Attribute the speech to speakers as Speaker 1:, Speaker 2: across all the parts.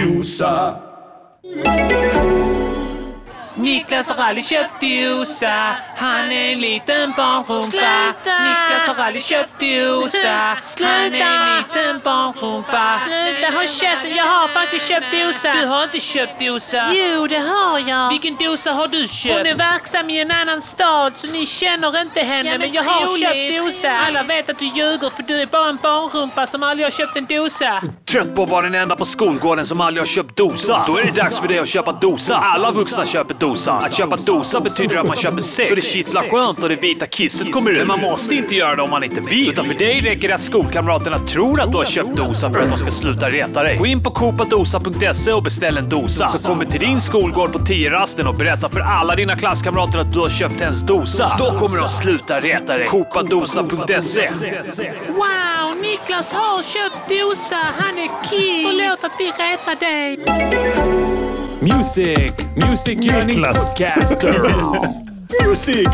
Speaker 1: Dosa.
Speaker 2: Niklas har aldrig köpt dosa, han är en liten barnrumpa.
Speaker 3: Sluta!
Speaker 2: Niklas har aldrig köpt dosa, han är en
Speaker 3: Sluta!
Speaker 2: liten barnrumpa.
Speaker 3: Sluta håll käften, jag har faktiskt köpt dosa.
Speaker 2: Du har inte köpt dosa.
Speaker 3: Jo, det har jag.
Speaker 2: Vilken dosa har du köpt?
Speaker 3: Hon är verksam i en annan stad så ni känner inte
Speaker 2: Ja,
Speaker 3: henne men,
Speaker 2: men
Speaker 3: jag har
Speaker 2: troligt.
Speaker 3: köpt dosa. Alla vet att du ljuger för du är bara en barnrumpa som aldrig har köpt en dosa.
Speaker 4: Trött på att vara den enda på skolgården som aldrig har köpt dosa. Då är det dags för dig att köpa dosa. Alla vuxna köper dosa. Att köpa dosa betyder att man köper sex. Så det kittlar skönt och det vita kisset kommer ut. Men man måste inte göra det om man inte vill. Utan för dig räcker det att skolkamraterna tror att du har köpt dosa för att de ska sluta reta dig. Gå in på copadosa.se och beställ en dosa. Så kommer till din skolgård på tiorasten och berätta för alla dina klasskamrater att du har köpt ens dosa. Då kommer de sluta reta dig. copadosa.se
Speaker 3: Wow, Niklas har köpt dosa. Han är king. Förlåt att vi retar dig.
Speaker 1: Music, Music Yearnings Podcaster. Music,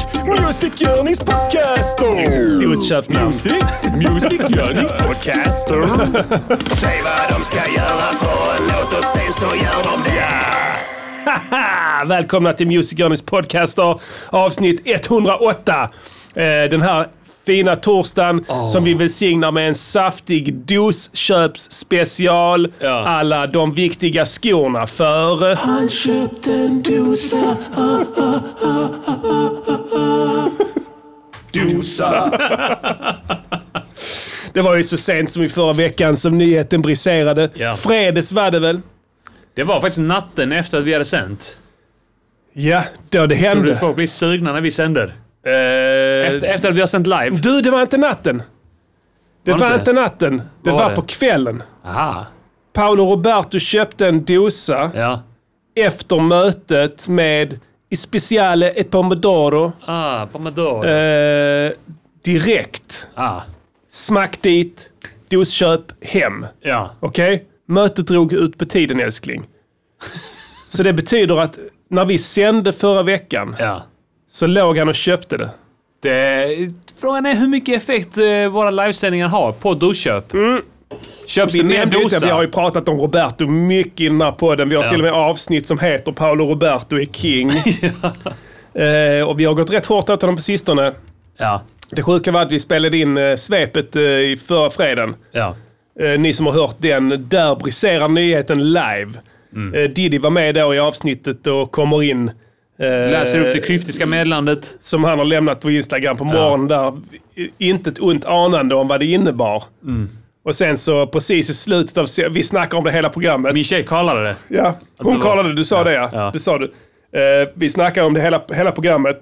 Speaker 1: Music Yearnings Podcaster.
Speaker 5: Dosköpnamn.
Speaker 1: Music, Music Yearnings Podcaster.
Speaker 6: Säg vad de ska göra för en låt och sen så gör de det.
Speaker 5: Ah, välkomna till Music Journeys podcaster avsnitt 108. Eh, den här fina torsdagen som vi välsignar med en saftig dosköpsspecial.
Speaker 4: Ja.
Speaker 5: Alla de viktiga skorna för...
Speaker 1: Han köpte en dosa. Dosa.
Speaker 5: Det var ju så sent som i förra veckan som nyheten briserade.
Speaker 4: Ja.
Speaker 5: Fredags var det väl?
Speaker 4: Det var faktiskt natten efter att vi hade sänt.
Speaker 5: Ja,
Speaker 4: Tror
Speaker 5: då det
Speaker 4: du
Speaker 5: hände.
Speaker 4: folk blir sugna när vi sänder? Eh, Efter, efter att vi har sänt live?
Speaker 5: Du, det var inte natten. Det var,
Speaker 4: Var det inte?
Speaker 5: inte natten. Det
Speaker 4: Vad var
Speaker 5: var,
Speaker 4: det?
Speaker 5: på kvällen. Ah,
Speaker 4: Aha.
Speaker 5: Paolo Roberto köpte en dosa
Speaker 4: Ja.
Speaker 5: efter mötet med Speciale e Pomodoro
Speaker 4: Ah, pomodoro.
Speaker 5: eh, direkt.
Speaker 4: Ah.
Speaker 5: Smack dit, dosköp, hem.
Speaker 4: Ja.
Speaker 5: Okej? Mötet drog ut på tiden älskling. Så det betyder att när vi sände förra veckan
Speaker 4: ja.
Speaker 5: så låg han och köpte det.
Speaker 4: Det, frågan är hur mycket effekt eh, våra livesändningar har på dosköp. Köps det
Speaker 5: Vi
Speaker 4: mer
Speaker 5: nämnde ju inte,
Speaker 4: dosa?
Speaker 5: vi Mm. Alltså, har ju pratat om Roberto mycket i den här podden. Vi har
Speaker 4: Ja.
Speaker 5: till och med avsnitt som heter Paolo Roberto är king. eh, och vi har gått rätt hårt åt honom på sistone.
Speaker 4: Ja.
Speaker 5: Det sjuka var att vi spelade in eh, svepet eh, i förra fredagen.
Speaker 4: Ja.
Speaker 5: Eh, ni som har hört den, där briserar nyheten live.
Speaker 4: Mm.
Speaker 5: Eh, Diddy var med då i avsnittet och kommer in. eh,
Speaker 4: Läser upp det kryptiska meddelandet.
Speaker 5: Som han har lämnat på Instagram på morgonen där. i- Inte ett ont anande om vad det innebar.
Speaker 4: Mm.
Speaker 5: Och sen så precis i slutet av, se- vi snackar om det hela programmet.
Speaker 4: Min tjej kallade det.
Speaker 5: Ja,
Speaker 4: det
Speaker 5: hon
Speaker 4: var-
Speaker 5: kollade, du sa det ja.
Speaker 4: ja.
Speaker 5: Du sa du. Eh, vi snackade om det hela, hela programmet.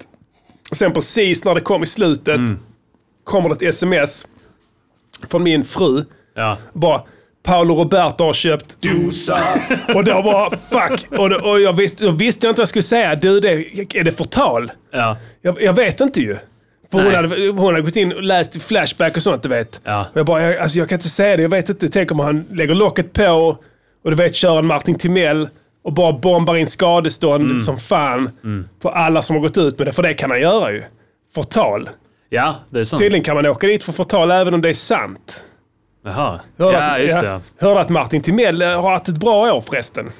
Speaker 5: Och sen precis när det kom i slutet
Speaker 4: Mm.
Speaker 5: kommer det ett sms från min fru.
Speaker 4: Ja.
Speaker 5: Bara, Paolo Roberto har köpt...
Speaker 1: Dosa.
Speaker 5: Och då bara fuck! Och, då, och jag, visste, jag visste inte vad jag skulle säga. Du, det, är det förtal?
Speaker 4: Ja.
Speaker 5: Jag, jag vet inte ju. För hon
Speaker 4: Nej.
Speaker 5: hade, hon hade gått in och läst i Flashback och sånt, du vet.
Speaker 4: Ja.
Speaker 5: Och jag bara, jag, alltså, jag kan inte säga det. Jag vet inte. Tänk om han lägger locket på och du vet, kör en Martin Timell och bara bombar in skadestånd
Speaker 4: Mm.
Speaker 5: som fan på alla som har gått ut med det. För det kan han göra ju. Förtal.
Speaker 4: Ja, det är sant.
Speaker 5: Tydligen kan man åka dit för förtal även om det är sant.
Speaker 4: Jaha.
Speaker 5: Hörde
Speaker 4: Ja,
Speaker 5: att,
Speaker 4: just
Speaker 5: ja,
Speaker 4: det.
Speaker 5: Hörde att Martin Timell eh, har haft ett bra år förresten.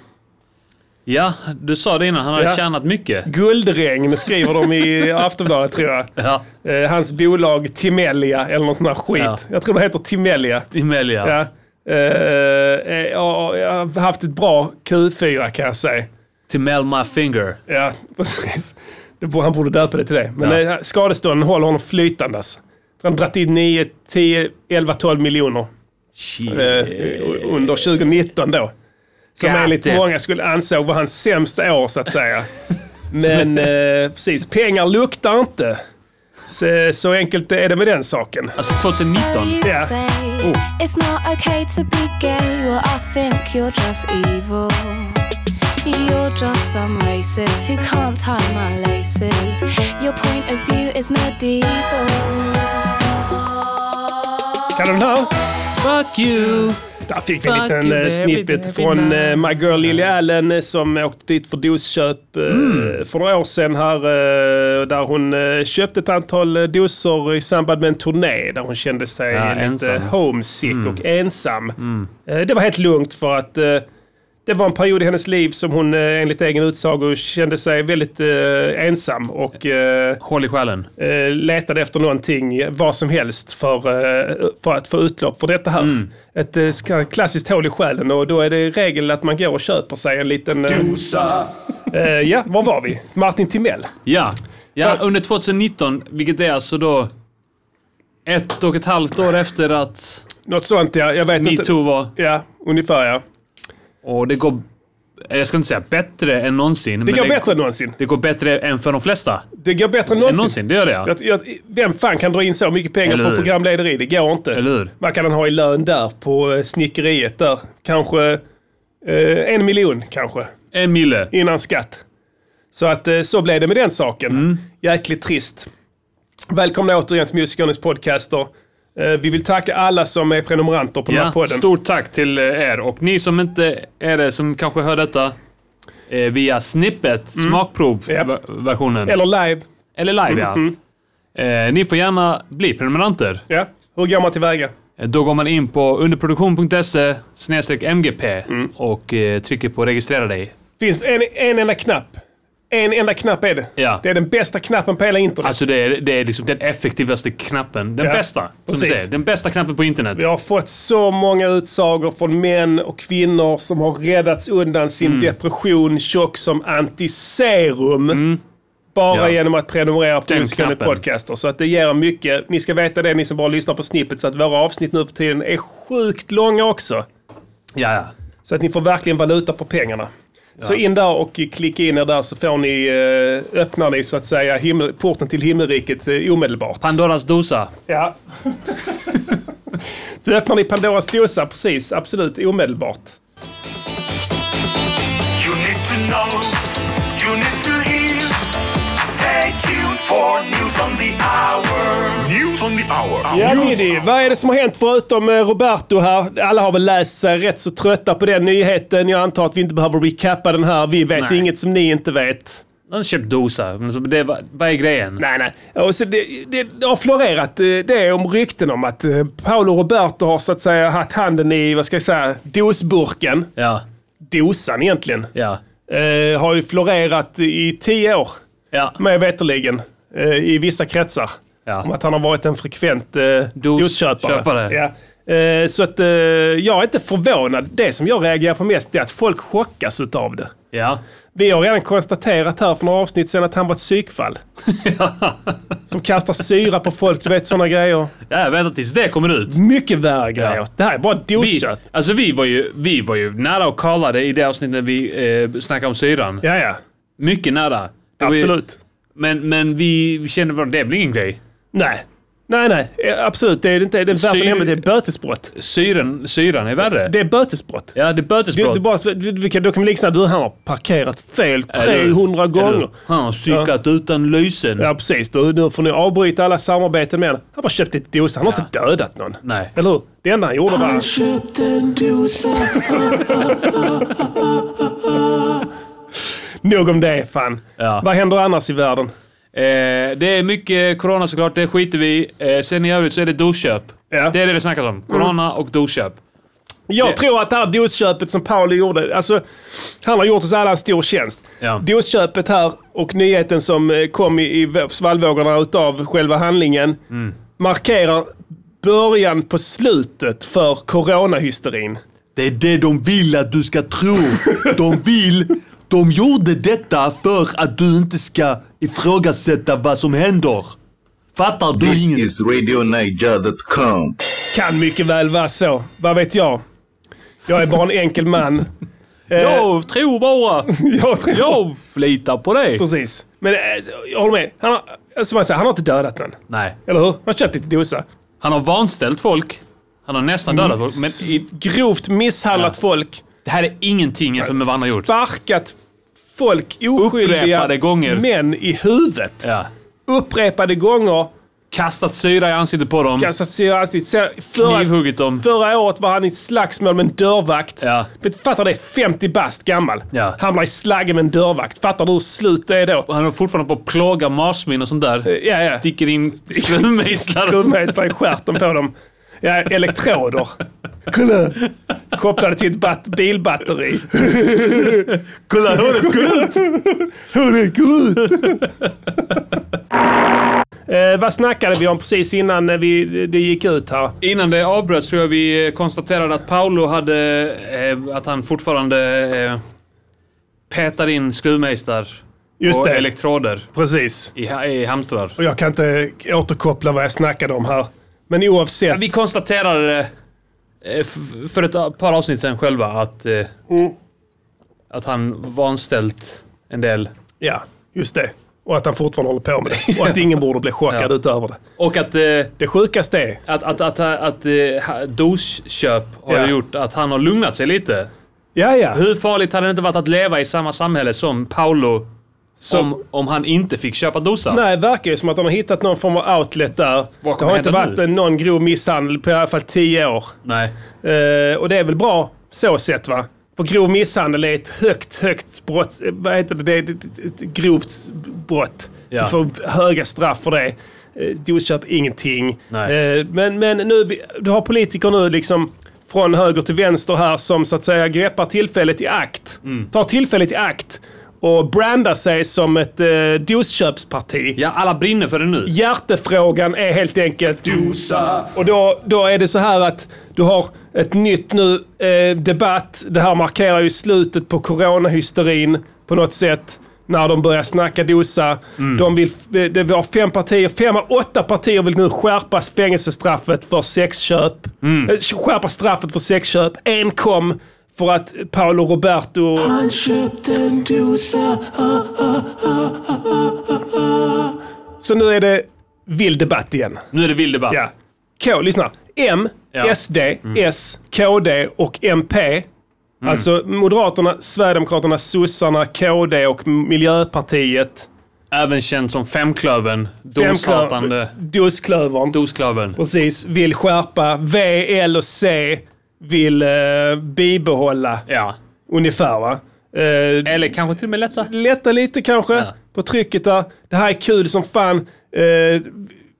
Speaker 4: Ja, du sa det innan. Han hade
Speaker 5: Ja.
Speaker 4: tjänat mycket.
Speaker 5: Guldregn skriver de i Aftonbladet tror jag.
Speaker 4: Ja.
Speaker 5: Eh, hans bolag Timelia eller någon sån här skit.
Speaker 4: Ja.
Speaker 5: Jag tror det heter Timelia.
Speaker 4: Imelia.
Speaker 5: Ja. Eh, eh, ja, jag har haft ett bra Q4 kan jag säga.
Speaker 4: Till Mel My Finger.
Speaker 5: Ja, precis. Det borde- Han borde döpa det till det. Men
Speaker 4: Ja.
Speaker 5: ja. skadestånden håller honom flytandes. Han har dragit in 9, 10, 11, 12 miljoner eh, under 2019 då. Som
Speaker 4: God
Speaker 5: enligt
Speaker 4: damn.
Speaker 5: många skulle ansåg var hans sämsta år så att säga. Men eh, precis, pengar luktar inte. Så, så enkelt är det med den saken.
Speaker 4: Alltså 2019.
Speaker 5: Yeah.
Speaker 7: say It's not okay to be gay. Well, I think you're just evil. You're just some racist who can't tie my laces. Your point of view is medieval.
Speaker 5: Kan du den här?
Speaker 4: Fuck you!
Speaker 5: Där fick vi en
Speaker 4: Fuck
Speaker 5: liten
Speaker 4: you,
Speaker 5: eh,
Speaker 4: baby,
Speaker 5: snippet
Speaker 4: baby,
Speaker 5: från
Speaker 4: now.
Speaker 5: eh, My Girl Lily Allen eh, som åkte dit för dosköp eh,
Speaker 4: Mm.
Speaker 5: för några år sedan här. eh, Där hon eh, köpte ett antal eh, doser i samband med en turné där hon kände sig
Speaker 4: Ja,
Speaker 5: lite
Speaker 4: ensam. Mm.
Speaker 5: homesick och ensam. Eh, Det var helt lugnt för att eh, det det var en period i hennes liv som hon eh, enligt egen utsago kände sig väldigt eh, ensam och eh,
Speaker 8: Håll i själen.
Speaker 5: eh, letade efter någonting, vad som helst, för, eh, för att få utlopp för detta här.
Speaker 8: Mm.
Speaker 5: Ett eh, ska- klassiskt hål i själen och då är det i regel att man går och köper sig en liten... Eh,
Speaker 9: Dosa.
Speaker 5: eh, ja, var var vi? Martin Timell.
Speaker 8: Ja. ja, under 2019, vilket är alltså då ett och ett halvt år efter att
Speaker 5: Något sånt ja, jag vet inte.
Speaker 8: metoo var.
Speaker 5: Ja, ungefär ja.
Speaker 8: Och det går, jag ska inte säga bättre än någonsin.
Speaker 5: Det går bättre än någonsin.
Speaker 8: Det går bättre än för de flesta.
Speaker 5: Det går bättre än
Speaker 8: Än
Speaker 5: någonsin.
Speaker 8: någonsin, det gör det ja.
Speaker 5: Jag, jag, vem fan kan dra in så mycket pengar
Speaker 8: Eller
Speaker 5: på
Speaker 8: hur?
Speaker 5: programlederi? Det går inte.
Speaker 8: Eller hur?
Speaker 5: Vad kan han ha i lön där på eh, snickeriet där? Kanske eh, en miljon kanske
Speaker 8: En mille.
Speaker 5: innan skatt. Så att eh, så blev det med den saken.
Speaker 8: Mm.
Speaker 5: Jäkligt trist. Välkomna återigen till Music Journeys podcaster. Eh, vi vill tacka alla som är prenumeranter på den här
Speaker 8: Ja,
Speaker 5: podden.
Speaker 8: stort tack till eh, er. Och ni som inte är det, som kanske hör detta eh, via snippet,
Speaker 5: Japp.
Speaker 8: smakprovversionen. Eller,
Speaker 5: Mm. Eller Mm, live.
Speaker 8: live ja. Eh, ni får gärna bli prenumeranter.
Speaker 5: Ja. Hur går man tillväga?
Speaker 8: Eh, Då går man in på underproduktion.se snedstreck mgp
Speaker 5: Mm.
Speaker 8: och eh, trycker på registrera dig.
Speaker 5: finns en, en enda knapp. En enda knapp är det.
Speaker 8: Ja.
Speaker 5: Det är den bästa knappen på hela internet.
Speaker 8: Alltså det är, det är liksom den effektivaste knappen. Den
Speaker 5: Ja,
Speaker 8: bästa. Som du
Speaker 5: precis.
Speaker 8: säger, den bästa knappen på internet.
Speaker 5: Vi har fått så många utsagor från män och kvinnor som har räddats undan sin
Speaker 8: Mm.
Speaker 5: depression tjock som antiserum. Bara
Speaker 8: Mm. Ja.
Speaker 5: genom att prenumerera på
Speaker 8: Den
Speaker 5: Musikalny
Speaker 8: knappen.
Speaker 5: Podcaster. Så att det ger mycket. Ni ska veta det, ni som bara lyssnar på snippet, så att våra avsnitt nu för tiden är sjukt långa också.
Speaker 8: Ja, ja.
Speaker 5: Så att ni får verkligen valuta för pengarna. Så in där och klicka in er där så får ni, eh, öppnar ni så att säga himmel, porten till himmelriket eh, omedelbart.
Speaker 8: Pandoras dosa.
Speaker 5: Ja. Så öppnar ni Pandoras dosa precis, absolut omedelbart.
Speaker 10: You need to know, you need to hear. Stay tuned for news on the hour. News on the hour.
Speaker 5: Ja, Diddy, vad är det som har hänt förutom eh, Roberto här? Alla har väl läst sig rätt så trötta på den nyheten. Jag antar att vi inte behöver recappa den här. Vi vet
Speaker 8: Nej.
Speaker 5: inget som ni inte vet.
Speaker 8: De har köpt dosa. Men så det, vad vad är grejen?
Speaker 5: Nej, nej. Och så det, det, det har florerat eh, det om rykten om att eh, Paolo Roberto har så att säga haft handen i, vad ska jag säga, dosburken.
Speaker 8: Ja,
Speaker 5: Dosan egentligen.
Speaker 8: ja,
Speaker 5: Eh, har ju florerat i tio år.
Speaker 8: ja.
Speaker 5: mig veterligen eh, i vissa kretsar.
Speaker 8: Ja.
Speaker 5: Om att han har varit en frekvent eh, dosköpare.
Speaker 8: köpare.
Speaker 5: Ja. Eh, så att eh, jag är inte förvånad. Det som jag reagerar på mest är att folk chockas utav det.
Speaker 8: Ja,
Speaker 5: Vi har redan konstaterat här för några avsnitt sedan att han var ett psykfall. Som kastar syra på folk, du vet sådana grejer.
Speaker 8: ja vänta tills det kommer ut.
Speaker 5: Mycket värre grejer.
Speaker 8: Ja.
Speaker 5: Det här är bara
Speaker 8: Vi,
Speaker 5: dosköp.
Speaker 8: alltså vi var, ju, vi var ju nära att kalla det i det avsnittet när vi eh, snackade om syran.
Speaker 5: Ja, ja.
Speaker 8: Mycket nära. Det var ju-
Speaker 5: Absolut.
Speaker 8: Men, men vi kände bara, det blir ingen grej.
Speaker 5: Nej. Nej, nej. Eh, Absolut. Det är inte det är värt
Speaker 8: Syr-
Speaker 5: att nämna. Det är bötesbrott.
Speaker 8: Syren, syran är värre.
Speaker 5: Det är bötesbrott.
Speaker 8: ja, det är
Speaker 5: Du,
Speaker 8: bötesbrott.
Speaker 5: du bara, du, du, kan- då kan vi liksom du han har parkerat fel
Speaker 8: Eller-
Speaker 5: 300 gånger.
Speaker 8: eller, Han har cyklat utan lysen.
Speaker 5: Ja precis, då, nu får ni avbryta alla samarbeten med honom. Han bara köpte ett dosa, han har inte dödat någon.
Speaker 8: Nej.
Speaker 5: Eller hur? Det enda han gjorde var...
Speaker 9: Köpt en dosa.
Speaker 5: Nog om det fan.
Speaker 8: Ja.
Speaker 5: Vad händer annars i världen?
Speaker 8: Eh, det är mycket corona såklart, det skiter vi i. eh, Sen i övrigt så är det dosköp.
Speaker 5: Ja. Mm.
Speaker 8: Det är det det snackas om. Corona och dosköp.
Speaker 5: Jag
Speaker 8: Det-
Speaker 5: tror att det här dosköpet som Pauli gjorde, alltså han har gjort oss alla en stor tjänst.
Speaker 8: Ja.
Speaker 5: Dosköpet här och nyheten som eh, kom i, i svallvågorna utav själva handlingen
Speaker 8: Mm.
Speaker 5: markerar början på slutet för coronahysterin.
Speaker 1: Det är det de vill att du ska tro. De vill. De gjorde detta för att du inte ska ifrågasätta vad som händer. Fattar du
Speaker 10: This
Speaker 1: ingen?
Speaker 10: is RadioNiger.com.
Speaker 5: Kan mycket väl vara så. Vad vet jag? Jag är bara en enkel man.
Speaker 8: Jag tror bara.
Speaker 5: Jag tror...
Speaker 8: Jag litar på dig.
Speaker 5: Precis. Men eh, jag håller med. Han har, eh, som jag säger, han har inte dödat någon.
Speaker 8: Nej.
Speaker 5: Eller hur? Han har köpt lite dosa.
Speaker 8: Han har vanställt folk. Han har nästan dödat folk. Men i,
Speaker 5: Grovt misshandlat folk.
Speaker 8: det här är ingenting jämfört med vad han har gjort.
Speaker 5: Sparkat folk, oskyldiga
Speaker 8: Upprepade gånger.
Speaker 5: män i huvudet.
Speaker 8: Ja.
Speaker 5: Upprepade gånger.
Speaker 8: Kastat syra i ansiktet på dem.
Speaker 5: Kastat sig i ansiktet. Sen- förra-
Speaker 8: Knivhuggit dem.
Speaker 5: Förra året var han i slagsmål med en dörrvakt.
Speaker 8: Ja.
Speaker 5: Vet- Fattar det? 50 bast gammal.
Speaker 8: Ja.
Speaker 5: Hamnar i slagg med en dörrvakt. Fattar du hur slut det är då?
Speaker 8: Och han är fortfarande på att plåga marsvin och sånt där.
Speaker 5: ja, ja.
Speaker 8: Sticker in skruvmejslar.
Speaker 5: skruvmejslar i stjärten på dem. Ja, elektroder. Kolla! Kopplade till ett bat- bilbatteri.
Speaker 11: Kolla håret går ut!
Speaker 5: Hur det går ut! eh, vad snackade vi om precis innan eh, vi, det gick ut här?
Speaker 4: Innan det avbröts tror jag vi eh, konstaterade att Paolo hade... Eh, att han fortfarande eh, petar in skruvmejslar
Speaker 5: Just
Speaker 4: och
Speaker 5: det.
Speaker 4: elektroder
Speaker 5: Precis.
Speaker 4: i, ha- i hamstrar.
Speaker 5: Och jag kan inte återkoppla vad jag snackade om här. Men oavsett.
Speaker 4: Vi konstaterade det, eh, f- för ett par avsnitt sedan själva att, eh,
Speaker 5: Mm.
Speaker 4: att han vanställt en del.
Speaker 5: Ja, just det. Och att han fortfarande håller på med det. Och att ingen borde bli chockad
Speaker 4: Ja.
Speaker 5: utöver det.
Speaker 4: Och att, eh,
Speaker 5: Det sjukaste är
Speaker 4: att, att, att, att, eh, ha- dosköp har
Speaker 5: Ja.
Speaker 4: gjort att han har lugnat sig lite.
Speaker 5: Ja, ja.
Speaker 4: Hur farligt hade det inte varit att leva i samma samhälle som Paolo om, om han inte fick köpa dosa?
Speaker 5: Nej, det verkar ju som att de har hittat någon form av outlet där.
Speaker 4: Vad
Speaker 5: Det
Speaker 4: kommer
Speaker 5: har inte
Speaker 4: hända
Speaker 5: varit
Speaker 4: nu?
Speaker 5: en- någon grov misshandel på i alla fall tio år.
Speaker 4: Nej.
Speaker 5: Eh, och det är väl bra så sett va? För grov misshandel är ett högt, högt brott. eh, Vad heter det? Det är ett, ett, ett grovt brott.
Speaker 4: Ja.
Speaker 5: Du får höga straff för det. Eh, Dosköp, ingenting.
Speaker 4: Nej.
Speaker 5: Eh, men, men nu, du har politiker nu liksom från höger till vänster här som så att säga greppar tillfället i akt.
Speaker 4: Mm.
Speaker 5: Tar tillfället i akt och brandar sig som ett eh, dosköpsparti.
Speaker 4: Ja, alla brinner för det nu.
Speaker 5: Hjärtefrågan är helt enkelt Och då, då är det så här att du har ett nytt nu eh, debatt. Det här markerar ju slutet på coronahysterin på något sätt. När de börjar snacka dosa. De vill, eh, det var fem partier, fem av åtta partier vill nu skärpa fängelsestraffet för sexköp. Eh, Skärpa straffet för sexköp. En kom för att Paolo Roberto...
Speaker 1: Han köpte en dosa, Ah,
Speaker 5: Så nu är det vild debatt igen.
Speaker 4: Nu är det vild debatt.
Speaker 5: Ja. K, lyssna. M,
Speaker 4: Ja. Mm.
Speaker 5: SD, S, KD och MP. Alltså Moderaterna, Sverigedemokraterna, sossarna, KD och Miljöpartiet.
Speaker 4: Även känd som Femklövern.
Speaker 5: Femklö-
Speaker 4: Doshatande.
Speaker 5: Dosklövern.
Speaker 4: Dosklövern.
Speaker 5: Precis. Vill skärpa. V, L och C vill eh, bibehålla.
Speaker 4: Ja.
Speaker 5: Ungefär va? Eh,
Speaker 4: Eller kanske till och med lätta.
Speaker 5: lätta lite kanske
Speaker 4: Ja.
Speaker 5: på trycket där. Det här är kul som fan. Eh,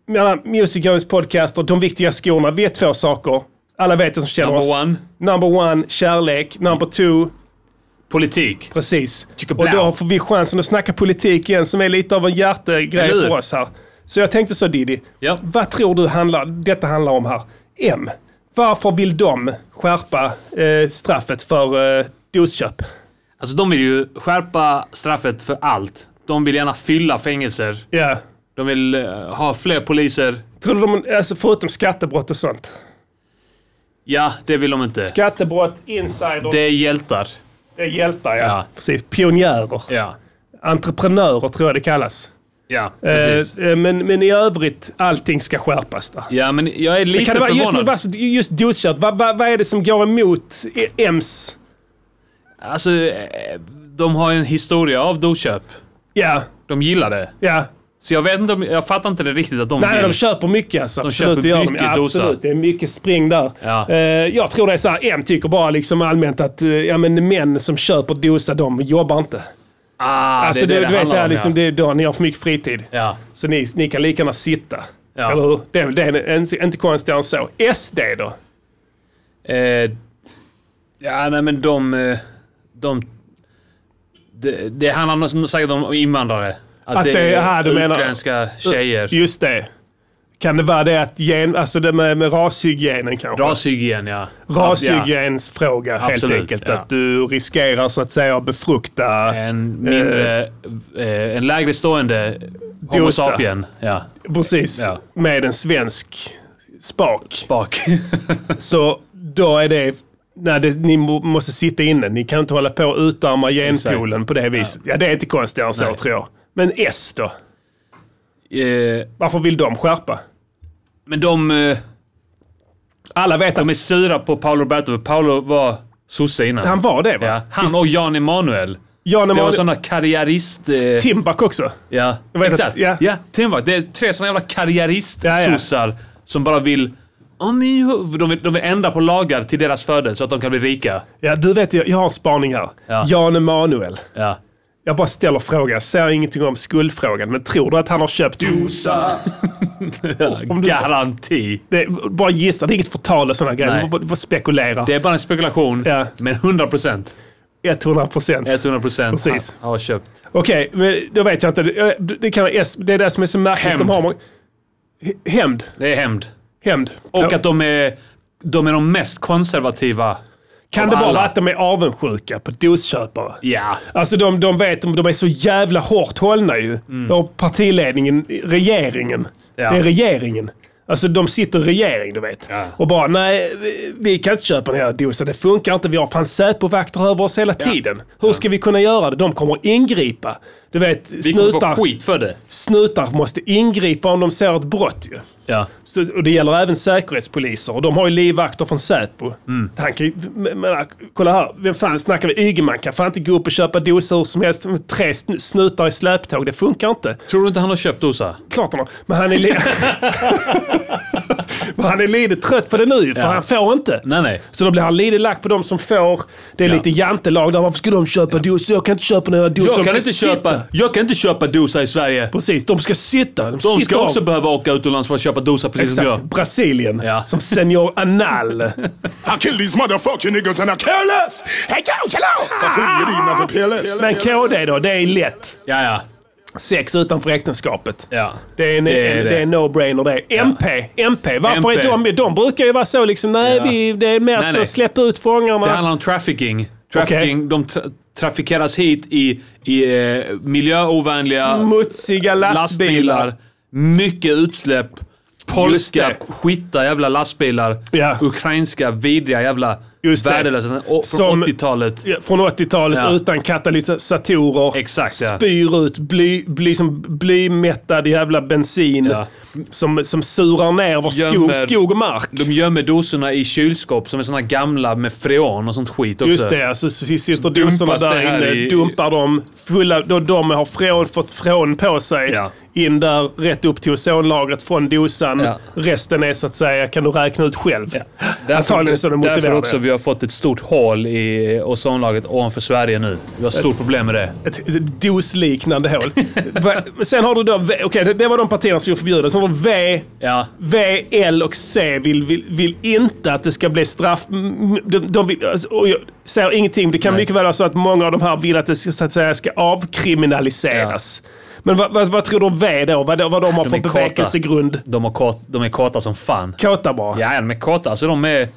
Speaker 5: mellan Music Jones podcast och De viktiga skorna. Vi är två saker. Alla vet det som känner oss.
Speaker 4: Number one.
Speaker 5: Number one, kärlek. Number two,
Speaker 4: Politik.
Speaker 5: precis.
Speaker 4: Tycker
Speaker 5: Och
Speaker 4: blau.
Speaker 5: då får vi chansen att snacka politik igen som är lite av en hjärtegrej
Speaker 4: Eller hur?
Speaker 5: för oss här. Så jag tänkte så Diddy.
Speaker 4: Ja.
Speaker 5: Vad tror du handlar, detta handlar om här? M. Varför vill de skärpa eh, straffet för eh, dosköp?
Speaker 4: Alltså de vill ju skärpa straffet för allt. De vill gärna fylla fängelser.
Speaker 5: Ja.
Speaker 4: De vill eh, ha fler poliser.
Speaker 5: Tror du de, alltså förutom skattebrott och sånt.
Speaker 4: Ja, det vill de inte.
Speaker 5: Skattebrott, insider,
Speaker 4: Det
Speaker 5: det,
Speaker 4: är hjältar.
Speaker 5: är hjältar ja.
Speaker 4: Ja.
Speaker 5: Precis, pionjärer.
Speaker 4: Ja.
Speaker 5: Entreprenörer tror jag det kallas.
Speaker 4: Ja,
Speaker 5: Eh,
Speaker 4: precis.
Speaker 5: eh, men, men i övrigt, allting ska skärpas där.
Speaker 4: Ja, men jag är lite
Speaker 5: Kan det vara just,
Speaker 4: förvånad.
Speaker 5: men alltså, just doskört, vad, vad, vad är det som går emot i- EMS?
Speaker 4: Alltså, eh, de har ju en historia av doköp.
Speaker 5: Ja,
Speaker 4: De gillar det.
Speaker 5: ja.
Speaker 4: Så jag vet inte om, jag fattar inte det riktigt att de
Speaker 5: Nej,
Speaker 4: vill.
Speaker 5: de köper mycket alltså.
Speaker 4: Mm. De
Speaker 5: absolut,
Speaker 4: köper
Speaker 5: det gör
Speaker 4: mycket
Speaker 5: de. Ja,
Speaker 4: dosa.
Speaker 5: absolut, det är mycket spring där.
Speaker 4: Ja.
Speaker 5: Eh, jag tror det är så här, M tycker bara liksom allmänt att eh, ja, men män som köper dosa, de jobbar inte.
Speaker 4: ah,
Speaker 5: Alltså,
Speaker 4: det är
Speaker 5: du,
Speaker 4: det
Speaker 5: du vet, det
Speaker 4: handlar
Speaker 5: är
Speaker 4: om,
Speaker 5: liksom, det är då ni har för mycket fritid.
Speaker 4: ja.
Speaker 5: Så ni, ni kan lika gärna sitta.
Speaker 4: Ja.
Speaker 5: Eller hur? Det är väl det, är inte, inte konstigare än så. SD då?
Speaker 4: ja. Eh, ja, nej men de... eh, de det, det handlar nog som säkert om invandrare. Att,
Speaker 5: Att det är här du menar- Uh,
Speaker 4: utländska tjejer.
Speaker 5: Just det. Kan det vara det att gen, alltså det med, med rashygienen kanske?
Speaker 4: Rashygien, ja.
Speaker 5: Rashygiensfråga helt
Speaker 4: Absolut,
Speaker 5: enkelt.
Speaker 4: ja.
Speaker 5: Att du riskerar så att säga att befrukta,
Speaker 4: Ja. En mindre... Eh, en lägre stående Homo
Speaker 5: Dosa.
Speaker 4: sapien. Ja.
Speaker 5: precis,
Speaker 4: ja.
Speaker 5: med en svensk spak.
Speaker 4: Spak.
Speaker 5: Så då är det, nej, det, ni må- måste sitta inne. Ni kan inte hålla på och utarma genpoolen på det viset. Ja, det är inte konstigare än så
Speaker 4: Nej.
Speaker 5: tror jag. Men S då?
Speaker 4: eh,
Speaker 5: Varför vill de skärpa?
Speaker 4: men de... Eh,
Speaker 5: Alla vet att
Speaker 4: De är sura på Paolo Roberto. för Paolo var sosse innan.
Speaker 5: han var det va?
Speaker 4: ja. han och Jan Emanuel.
Speaker 5: Jan
Speaker 4: Det var
Speaker 5: Emanuel,
Speaker 4: sådana karriärist... Eh,
Speaker 5: Timbuk också.
Speaker 4: ja,
Speaker 5: vet att-
Speaker 4: exakt.
Speaker 5: ja.
Speaker 4: ja. Ja, Timbuk. Det är tre sådana jävla
Speaker 5: Ja, ja.
Speaker 4: karriärist-sossar som bara vill... "Ja, men jag-" De vill, de vill ändra på lagar till deras fördel så att de kan bli rika.
Speaker 5: Ja, du vet, jag, jag har en spaning här.
Speaker 4: Ja.
Speaker 5: Jan Emanuel.
Speaker 4: Ja.
Speaker 5: Jag bara ställer frågan. Jag säger ingenting om skuldfrågan, men tror du att han har köpt... Dosa!
Speaker 4: Garanti.
Speaker 5: Det är bara gissa, det är inget förtal eller sådana grejer.
Speaker 4: Nej.
Speaker 5: Man bara- bara spekulera.
Speaker 4: Det är bara en spekulation,
Speaker 5: Ja.
Speaker 4: men 100 procent.
Speaker 5: 100 procent.
Speaker 4: 100 procent
Speaker 5: Precis.
Speaker 4: har köpt.
Speaker 5: Okej, men då vet jag inte. Det- Det, kan vara S, det är det som är så märkligt.
Speaker 4: Hämnd.
Speaker 5: De har många... H- Hämnd.
Speaker 4: Det är hämnd.
Speaker 5: Hämnd.
Speaker 4: Och att de är, de är de mest konservativa.
Speaker 5: kan det
Speaker 4: av
Speaker 5: bara
Speaker 4: alla.
Speaker 5: vara att de är avundsjuka på dosköpare?
Speaker 4: Ja.
Speaker 5: Alltså de, de vet, de är så jävla hårt hållna ju. Och partiledningen, regeringen.
Speaker 4: Mm. Ja.
Speaker 5: Det är regeringen. Alltså de sitter i regering, du vet. Och bara, nej, vi- vi kan inte köpa den här dosan. Det funkar inte. Vi har fan Säpovakter över oss hela tiden. Hur ska vi kunna göra det? De kommer att ingripa. Du vet,
Speaker 4: Vi kommer
Speaker 5: snutar,
Speaker 4: få skit för det.
Speaker 5: snutar måste ingripa om de ser ett brott ju.
Speaker 4: Ja.
Speaker 5: Så, och det gäller även säkerhetspoliser. Och de har ju livvakter från Säpo.
Speaker 4: Mm.
Speaker 5: Han kan ju, men, men, kolla här, vem fan snackar vi? Ygeman kan fan inte gå upp och köpa doser hur som helst. Tre sn- snutar i släptåg, det funkar inte.
Speaker 4: Tror du inte han har köpt dosa?
Speaker 5: Klart han har. Men han är, li- men han är lite trött på det nu, för
Speaker 4: Ja.
Speaker 5: han får inte.
Speaker 4: Nej, nej.
Speaker 5: Så då blir han lite lack på de som får. Det är
Speaker 4: Ja.
Speaker 5: lite jantelag där. Varför ska de köpa doser? Jag kan inte köpa några doser.
Speaker 4: Jag
Speaker 5: De
Speaker 4: kan,
Speaker 5: ska
Speaker 4: inte
Speaker 5: sitta.
Speaker 4: köpa, jag kan inte köpa dosa i Sverige.
Speaker 5: Precis, de ska sitta. De,
Speaker 4: De
Speaker 5: sitter
Speaker 4: ska
Speaker 5: av.
Speaker 4: också behöva åka utomlands för att köpa dosa precis som
Speaker 5: Exakt,
Speaker 4: jag.
Speaker 5: Brasilien.
Speaker 4: Ja.
Speaker 5: Som Senor Anal.
Speaker 10: I kill these motherfucking niggas and I care less. Hey, yo, chill out! Förföljer dina för PLS.
Speaker 5: Men KD då, det är lätt.
Speaker 4: Ja, ja.
Speaker 5: Sex utanför äktenskapet.
Speaker 4: ja.
Speaker 5: Det är en,
Speaker 4: Det är
Speaker 5: en,
Speaker 4: det.
Speaker 5: det är en no-brainer det. MP, MP. Varför
Speaker 4: MP?
Speaker 5: är de... De brukar ju vara så liksom, nej,
Speaker 4: Ja.
Speaker 5: vi, det är mer
Speaker 4: Nej,
Speaker 5: så
Speaker 4: nej.
Speaker 5: släpp ut fångarna.
Speaker 4: Det handlar om trafficking. Trafficking, de tra trafikeras hit i, i eh, miljöovänliga
Speaker 5: Smutsiga lastbilar.
Speaker 4: lastbilar. Mycket utsläpp. Polska
Speaker 5: Just
Speaker 4: skita jävla lastbilar.
Speaker 5: Ja.
Speaker 4: Ukrainska vidriga jävla
Speaker 5: Just det.
Speaker 4: värdelösa. och- Från
Speaker 5: Som-
Speaker 4: 80-talet.
Speaker 5: Ja, Från 80-talet
Speaker 4: Ja.
Speaker 5: utan katalysatorer.
Speaker 4: Exakt, ja.
Speaker 5: Spyr ut bly, bly, som blymättad jävla bensin.
Speaker 4: Ja.
Speaker 5: Som, som surar ner vår skog,
Speaker 4: Gömmer-
Speaker 5: skog och mark.
Speaker 4: De gömmer dosorna i kylskåp som är såna gamla med freon och sånt skit också.
Speaker 5: Just det, alltså, så sitter
Speaker 4: dumpas
Speaker 5: dosorna
Speaker 4: det
Speaker 5: där
Speaker 4: här
Speaker 5: inne,
Speaker 4: i-
Speaker 5: dumpar dem. Fulla, då de har från, fått från på sig.
Speaker 4: Ja.
Speaker 5: In där, rätt upp till ozonlagret från dosan.
Speaker 4: Ja.
Speaker 5: Resten är så att säga, kan du räkna ut själv. Antagligen så är de
Speaker 4: därför
Speaker 5: motiverade.
Speaker 4: också vi har fått ett stort hål i ozonlagret ovanför Sverige nu. Vi har stort problem med det.
Speaker 5: Ett, ett dosliknande hål. Va- men Sen har du då, V- okej det, det var de partierna som vi förbjuder. Sen har du V,
Speaker 4: Ja.
Speaker 5: V, L och C vill, vill, vill inte att det ska bli straff. m- De, de vill, alltså, och jag säger ingenting, men det kan mycket väl vara så att många av de här vill att det ska, så att säga, ska avkriminaliseras. Men vad, vad, vad tror du om V då? Vad, vad de har
Speaker 4: är
Speaker 5: för
Speaker 4: kåta.
Speaker 5: bevekelsegrund?
Speaker 4: De, har kåt, de är kåta som fan.
Speaker 5: Kåta bara.
Speaker 4: Ja, de är kåta. Alltså, de, är,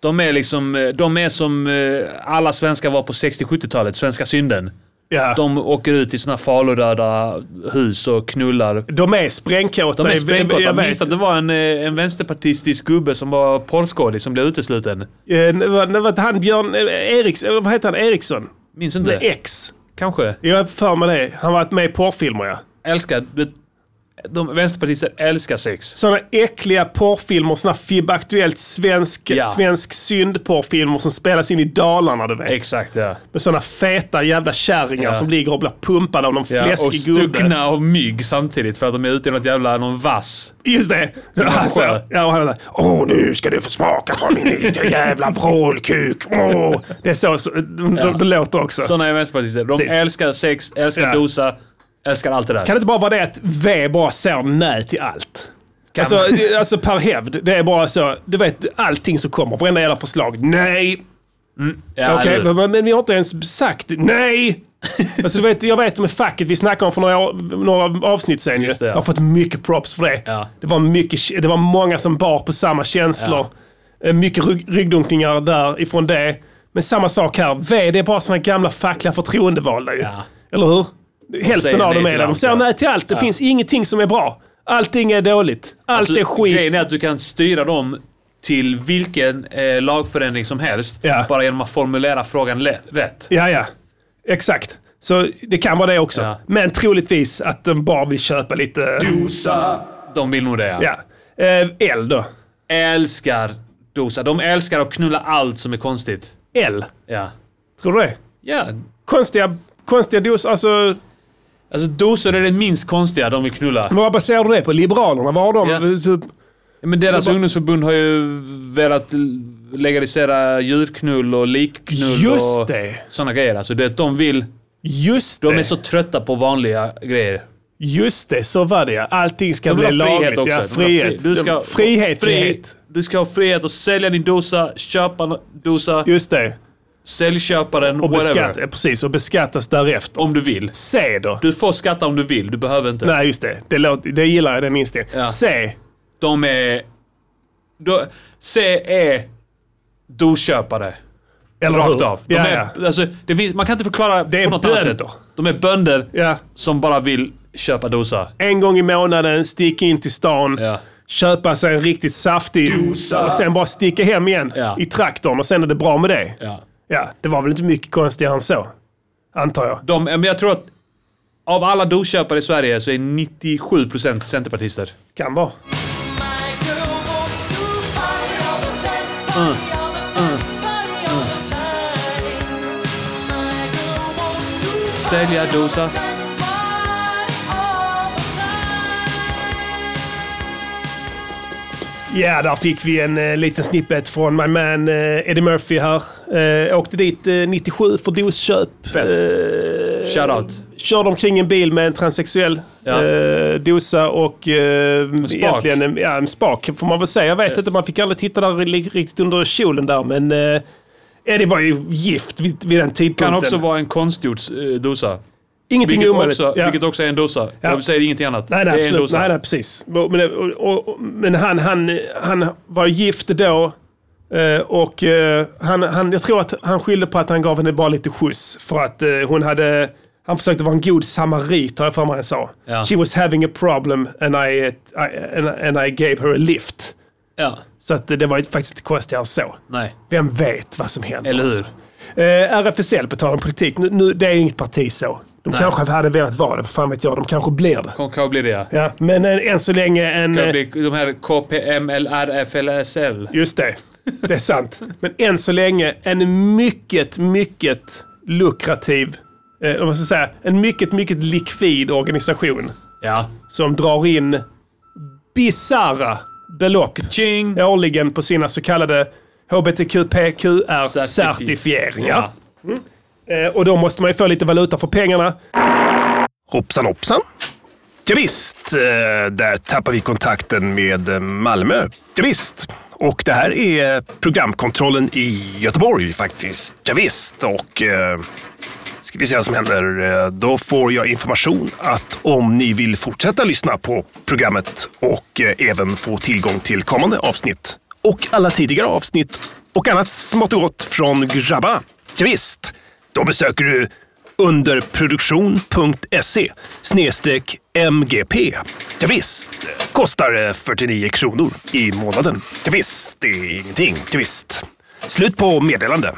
Speaker 4: de är liksom... eh, De är som eh, alla svenskar var på 60-70-talet. Svenska synden.
Speaker 5: Ja. De,
Speaker 4: De åker ut i såna faluröda hus och knullar.
Speaker 5: är sprängkåta.
Speaker 4: De är
Speaker 5: Jag-
Speaker 4: sprängkåta.
Speaker 5: jag
Speaker 4: Jag minns
Speaker 5: vet.
Speaker 4: att det var en, eh, en vänsterpartistisk gubbe som var porrskådis som blev utesluten.
Speaker 5: Eh, det var- det var han Björn eh, Eriksson, vad heter han? Eriksson?
Speaker 4: Minns inte?
Speaker 5: X.
Speaker 4: Kanske.
Speaker 5: Jag har för mig det. Han har varit med i porrfilmer ja.
Speaker 4: Älskar... De vänsterpartister älskar sex.
Speaker 5: Sådana äckliga porrfilmer, sådana FIB Aktuellt svensk,
Speaker 4: Ja.
Speaker 5: svensk syndporrfilmer som spelas in i Dalarna du vet.
Speaker 4: Exakt ja.
Speaker 5: Med sådana feta jävla kärringar
Speaker 4: Ja.
Speaker 5: som ligger och blir pumpade av någon
Speaker 4: ja och
Speaker 5: fläskig gubbe.
Speaker 4: stuckna av mygg samtidigt för att de är ute i något jävla, någon vass.
Speaker 5: Just det!
Speaker 4: skön.
Speaker 5: Alltså, ja, och han där, Åh, nu ska du få smaka på min lilla jävla vrålkuk. Åh. Det är så, så de, de, de låter också.
Speaker 4: Sådana är vänsterpartister. De
Speaker 5: Precis.
Speaker 4: älskar sex, älskar
Speaker 5: Ja.
Speaker 4: dosa, älskar allt det där.
Speaker 5: Kan det inte bara vara det att V bara säger nej till allt? Alltså, det- alltså per hävd. Det är bara så. Du vet, allting som kommer. Varenda jävla förslag. Nej!
Speaker 4: ja,
Speaker 5: Okej,
Speaker 4: eller-
Speaker 5: men, men vi har inte ens sagt nej. alltså, du vet, jag vet med facket vi snackade om för några, år- några avsnitt sen. ju.
Speaker 4: Just det, ja.
Speaker 5: Jag har fått mycket props för det.
Speaker 4: Ja.
Speaker 5: Det, var mycket, det var många som bar på samma känslor. Eh, Mycket rygg, ryggdunkningar därifrån det. Men samma sak här. V, det är bara såna gamla fackliga förtroendevalda ju.
Speaker 4: Ja.
Speaker 5: Eller hur? Hälften
Speaker 4: säger
Speaker 5: av
Speaker 4: nej till
Speaker 5: dem är det. De
Speaker 4: allt,
Speaker 5: säger
Speaker 4: ja.
Speaker 5: nej till allt. Det finns ingenting som är bra. Allting är dåligt. Allt är skit.
Speaker 4: Alltså, Grejen är att du kan styra dem till vilken eh, lagförändring som helst
Speaker 5: Ja.
Speaker 4: bara genom att formulera frågan lätt, rätt.
Speaker 5: Ja, ja. Exakt. Så det kan vara det också.
Speaker 4: Ja.
Speaker 5: Men troligtvis att de bara vill köpa lite...
Speaker 4: De vill nog det.
Speaker 5: Ja. Eh, L då.
Speaker 4: Älskar dosa. De älskar att knulla allt som är konstigt.
Speaker 5: L.
Speaker 4: Ja.
Speaker 5: Tror du det?
Speaker 4: Ja.
Speaker 5: Konstiga, konstiga doser. Alltså,
Speaker 4: Alltså dosor är det minst konstiga de vill knulla.
Speaker 5: vad baserar du det på? Liberalerna? Vad har de?
Speaker 4: Ja.
Speaker 5: Typ,
Speaker 4: Men deras ungdomsförbund har ju velat l- legalisera djurknull och likknull
Speaker 5: Just
Speaker 4: och
Speaker 5: det.
Speaker 4: sådana grejer. Alltså det, de vill...
Speaker 5: just
Speaker 4: De
Speaker 5: det.
Speaker 4: är så trötta på vanliga grejer.
Speaker 5: Just det, så var det ja. Allting ska
Speaker 4: De vill
Speaker 5: bli
Speaker 4: ha frihet
Speaker 5: lagligt.
Speaker 4: också.
Speaker 5: Ja,
Speaker 4: De vill ha
Speaker 5: frihet.
Speaker 4: fri- Du ska,
Speaker 5: frihet.
Speaker 4: fri-
Speaker 5: frihet.
Speaker 4: Du ska ha frihet att sälja din dosa, köpa en dosa,
Speaker 5: Just det.
Speaker 4: säljköpa den,
Speaker 5: Och,
Speaker 4: whatever.
Speaker 5: beskatta, precis, och beskattas därefter.
Speaker 4: Om du vill.
Speaker 5: Se då.
Speaker 4: Du får skatta om du vill, du behöver inte.
Speaker 5: Nej, just det. Det, låter, det gillar jag, den inställningen.
Speaker 4: Ja.
Speaker 5: Se.
Speaker 4: De är... De, C är dosköpare.
Speaker 5: Eller
Speaker 4: Rakt
Speaker 5: hur?
Speaker 4: av. De
Speaker 5: ja,
Speaker 4: är,
Speaker 5: ja.
Speaker 4: alltså, det finns, man kan inte förklara
Speaker 5: är
Speaker 4: på något annat
Speaker 5: bönder.
Speaker 4: sätt. De är bönder
Speaker 5: ja.
Speaker 4: som bara vill köpa dosa.
Speaker 5: En gång i månaden, stick in till stan.
Speaker 4: Ja.
Speaker 5: Köpa sig en riktigt saftig och sen bara sticka hem igen
Speaker 4: Ja.
Speaker 5: i traktorn och sen är det bra med det.
Speaker 4: Ja.
Speaker 5: Ja, det var väl inte mycket konstigare än så. Antar jag.
Speaker 4: De, men jag tror att av alla dosköpare i Sverige så är 97% centerpartister.
Speaker 5: Kan vara.
Speaker 4: Sälja dosa.
Speaker 5: Ja, där fick vi en eh, liten snippet från my man eh, Eddie Murphy här. Eh, åkte dit eh, 97 för dosköp. Eh,
Speaker 4: Fett. Shoutout.
Speaker 5: Körde omkring en bil med en transsexuell
Speaker 4: Ja.
Speaker 5: eh, dosa och eh,
Speaker 4: spak. Eh.
Speaker 5: egentligen en, ja, en spak får man väl säga. Jag vet inte, man fick aldrig titta där li- riktigt under kjolen där. Men eh, Eddie var ju gift vid, vid den tidpunkten.
Speaker 4: Kan också vara en konstgjord eh, dosa.
Speaker 5: Ingenting
Speaker 4: Vilket
Speaker 5: omöjligt.
Speaker 4: också,
Speaker 5: Ja.
Speaker 4: vilket också är en dosa.
Speaker 5: Ja.
Speaker 4: Jag säger ingenting annat.
Speaker 5: Nej,
Speaker 4: det
Speaker 5: nej,
Speaker 4: är en
Speaker 5: absolut.
Speaker 4: dosa.
Speaker 5: Nej, nej, precis. Men, det- och, och, och- men han, han, han var gift då. eh, Och eh, han, han, jag tror att han skyllde på att han gav henne bara lite skjuts. För att eh, hon hade... Han försökte vara en god samarit, har jag för mig han sa.
Speaker 4: Ja.
Speaker 5: She was having a problem and I, eh, I, and, I- and I gave her a lift.
Speaker 4: Ja,
Speaker 5: Så att eh, det var ju faktiskt inte konstigare än så.
Speaker 4: nej.
Speaker 5: Vem vet vad som händer?
Speaker 4: Eller hur?
Speaker 5: Eh, RFSL, på tal om politik, nu, nu, det är ju inget parti så. De kanske hade velat vara det, vad fan vet jag. De kanske blir det.
Speaker 4: Konka blir det ja.
Speaker 5: Ja, men än, än så länge en...
Speaker 4: Kan
Speaker 5: eh,
Speaker 4: bli de här KPMLRFLSL.
Speaker 5: Just det, det är sant. Men än så länge en mycket, mycket lukrativ, eh, vad ska jag säga, en mycket, mycket likvid organisation
Speaker 4: Ja.
Speaker 5: som drar in bisarra belopp
Speaker 4: Ching!
Speaker 5: årligen på sina så kallade HBTQPQR-certifieringar.
Speaker 4: Ja.
Speaker 5: Eh, och då måste man ju få lite valuta för pengarna.
Speaker 12: Hoppsan hoppsan. Ja, visst, eh, där tappar vi kontakten med eh, Malmö. Ja, visst. Och det här är programkontrollen i Göteborg faktiskt. Ja, visst. och eh, ska vi se vad som händer. Eh, Då får jag information att om ni vill fortsätta lyssna på programmet och eh, även få tillgång till kommande avsnitt och alla tidigare avsnitt och annat smått och gott från grabbarna. Ja, visst. då besöker du underproduktion.se E snedstreck MGP. Ja, visst. kostar eh, 49 kronor i månaden. Ja, visst. det är ingenting. Ja, visst. Slut på meddelande.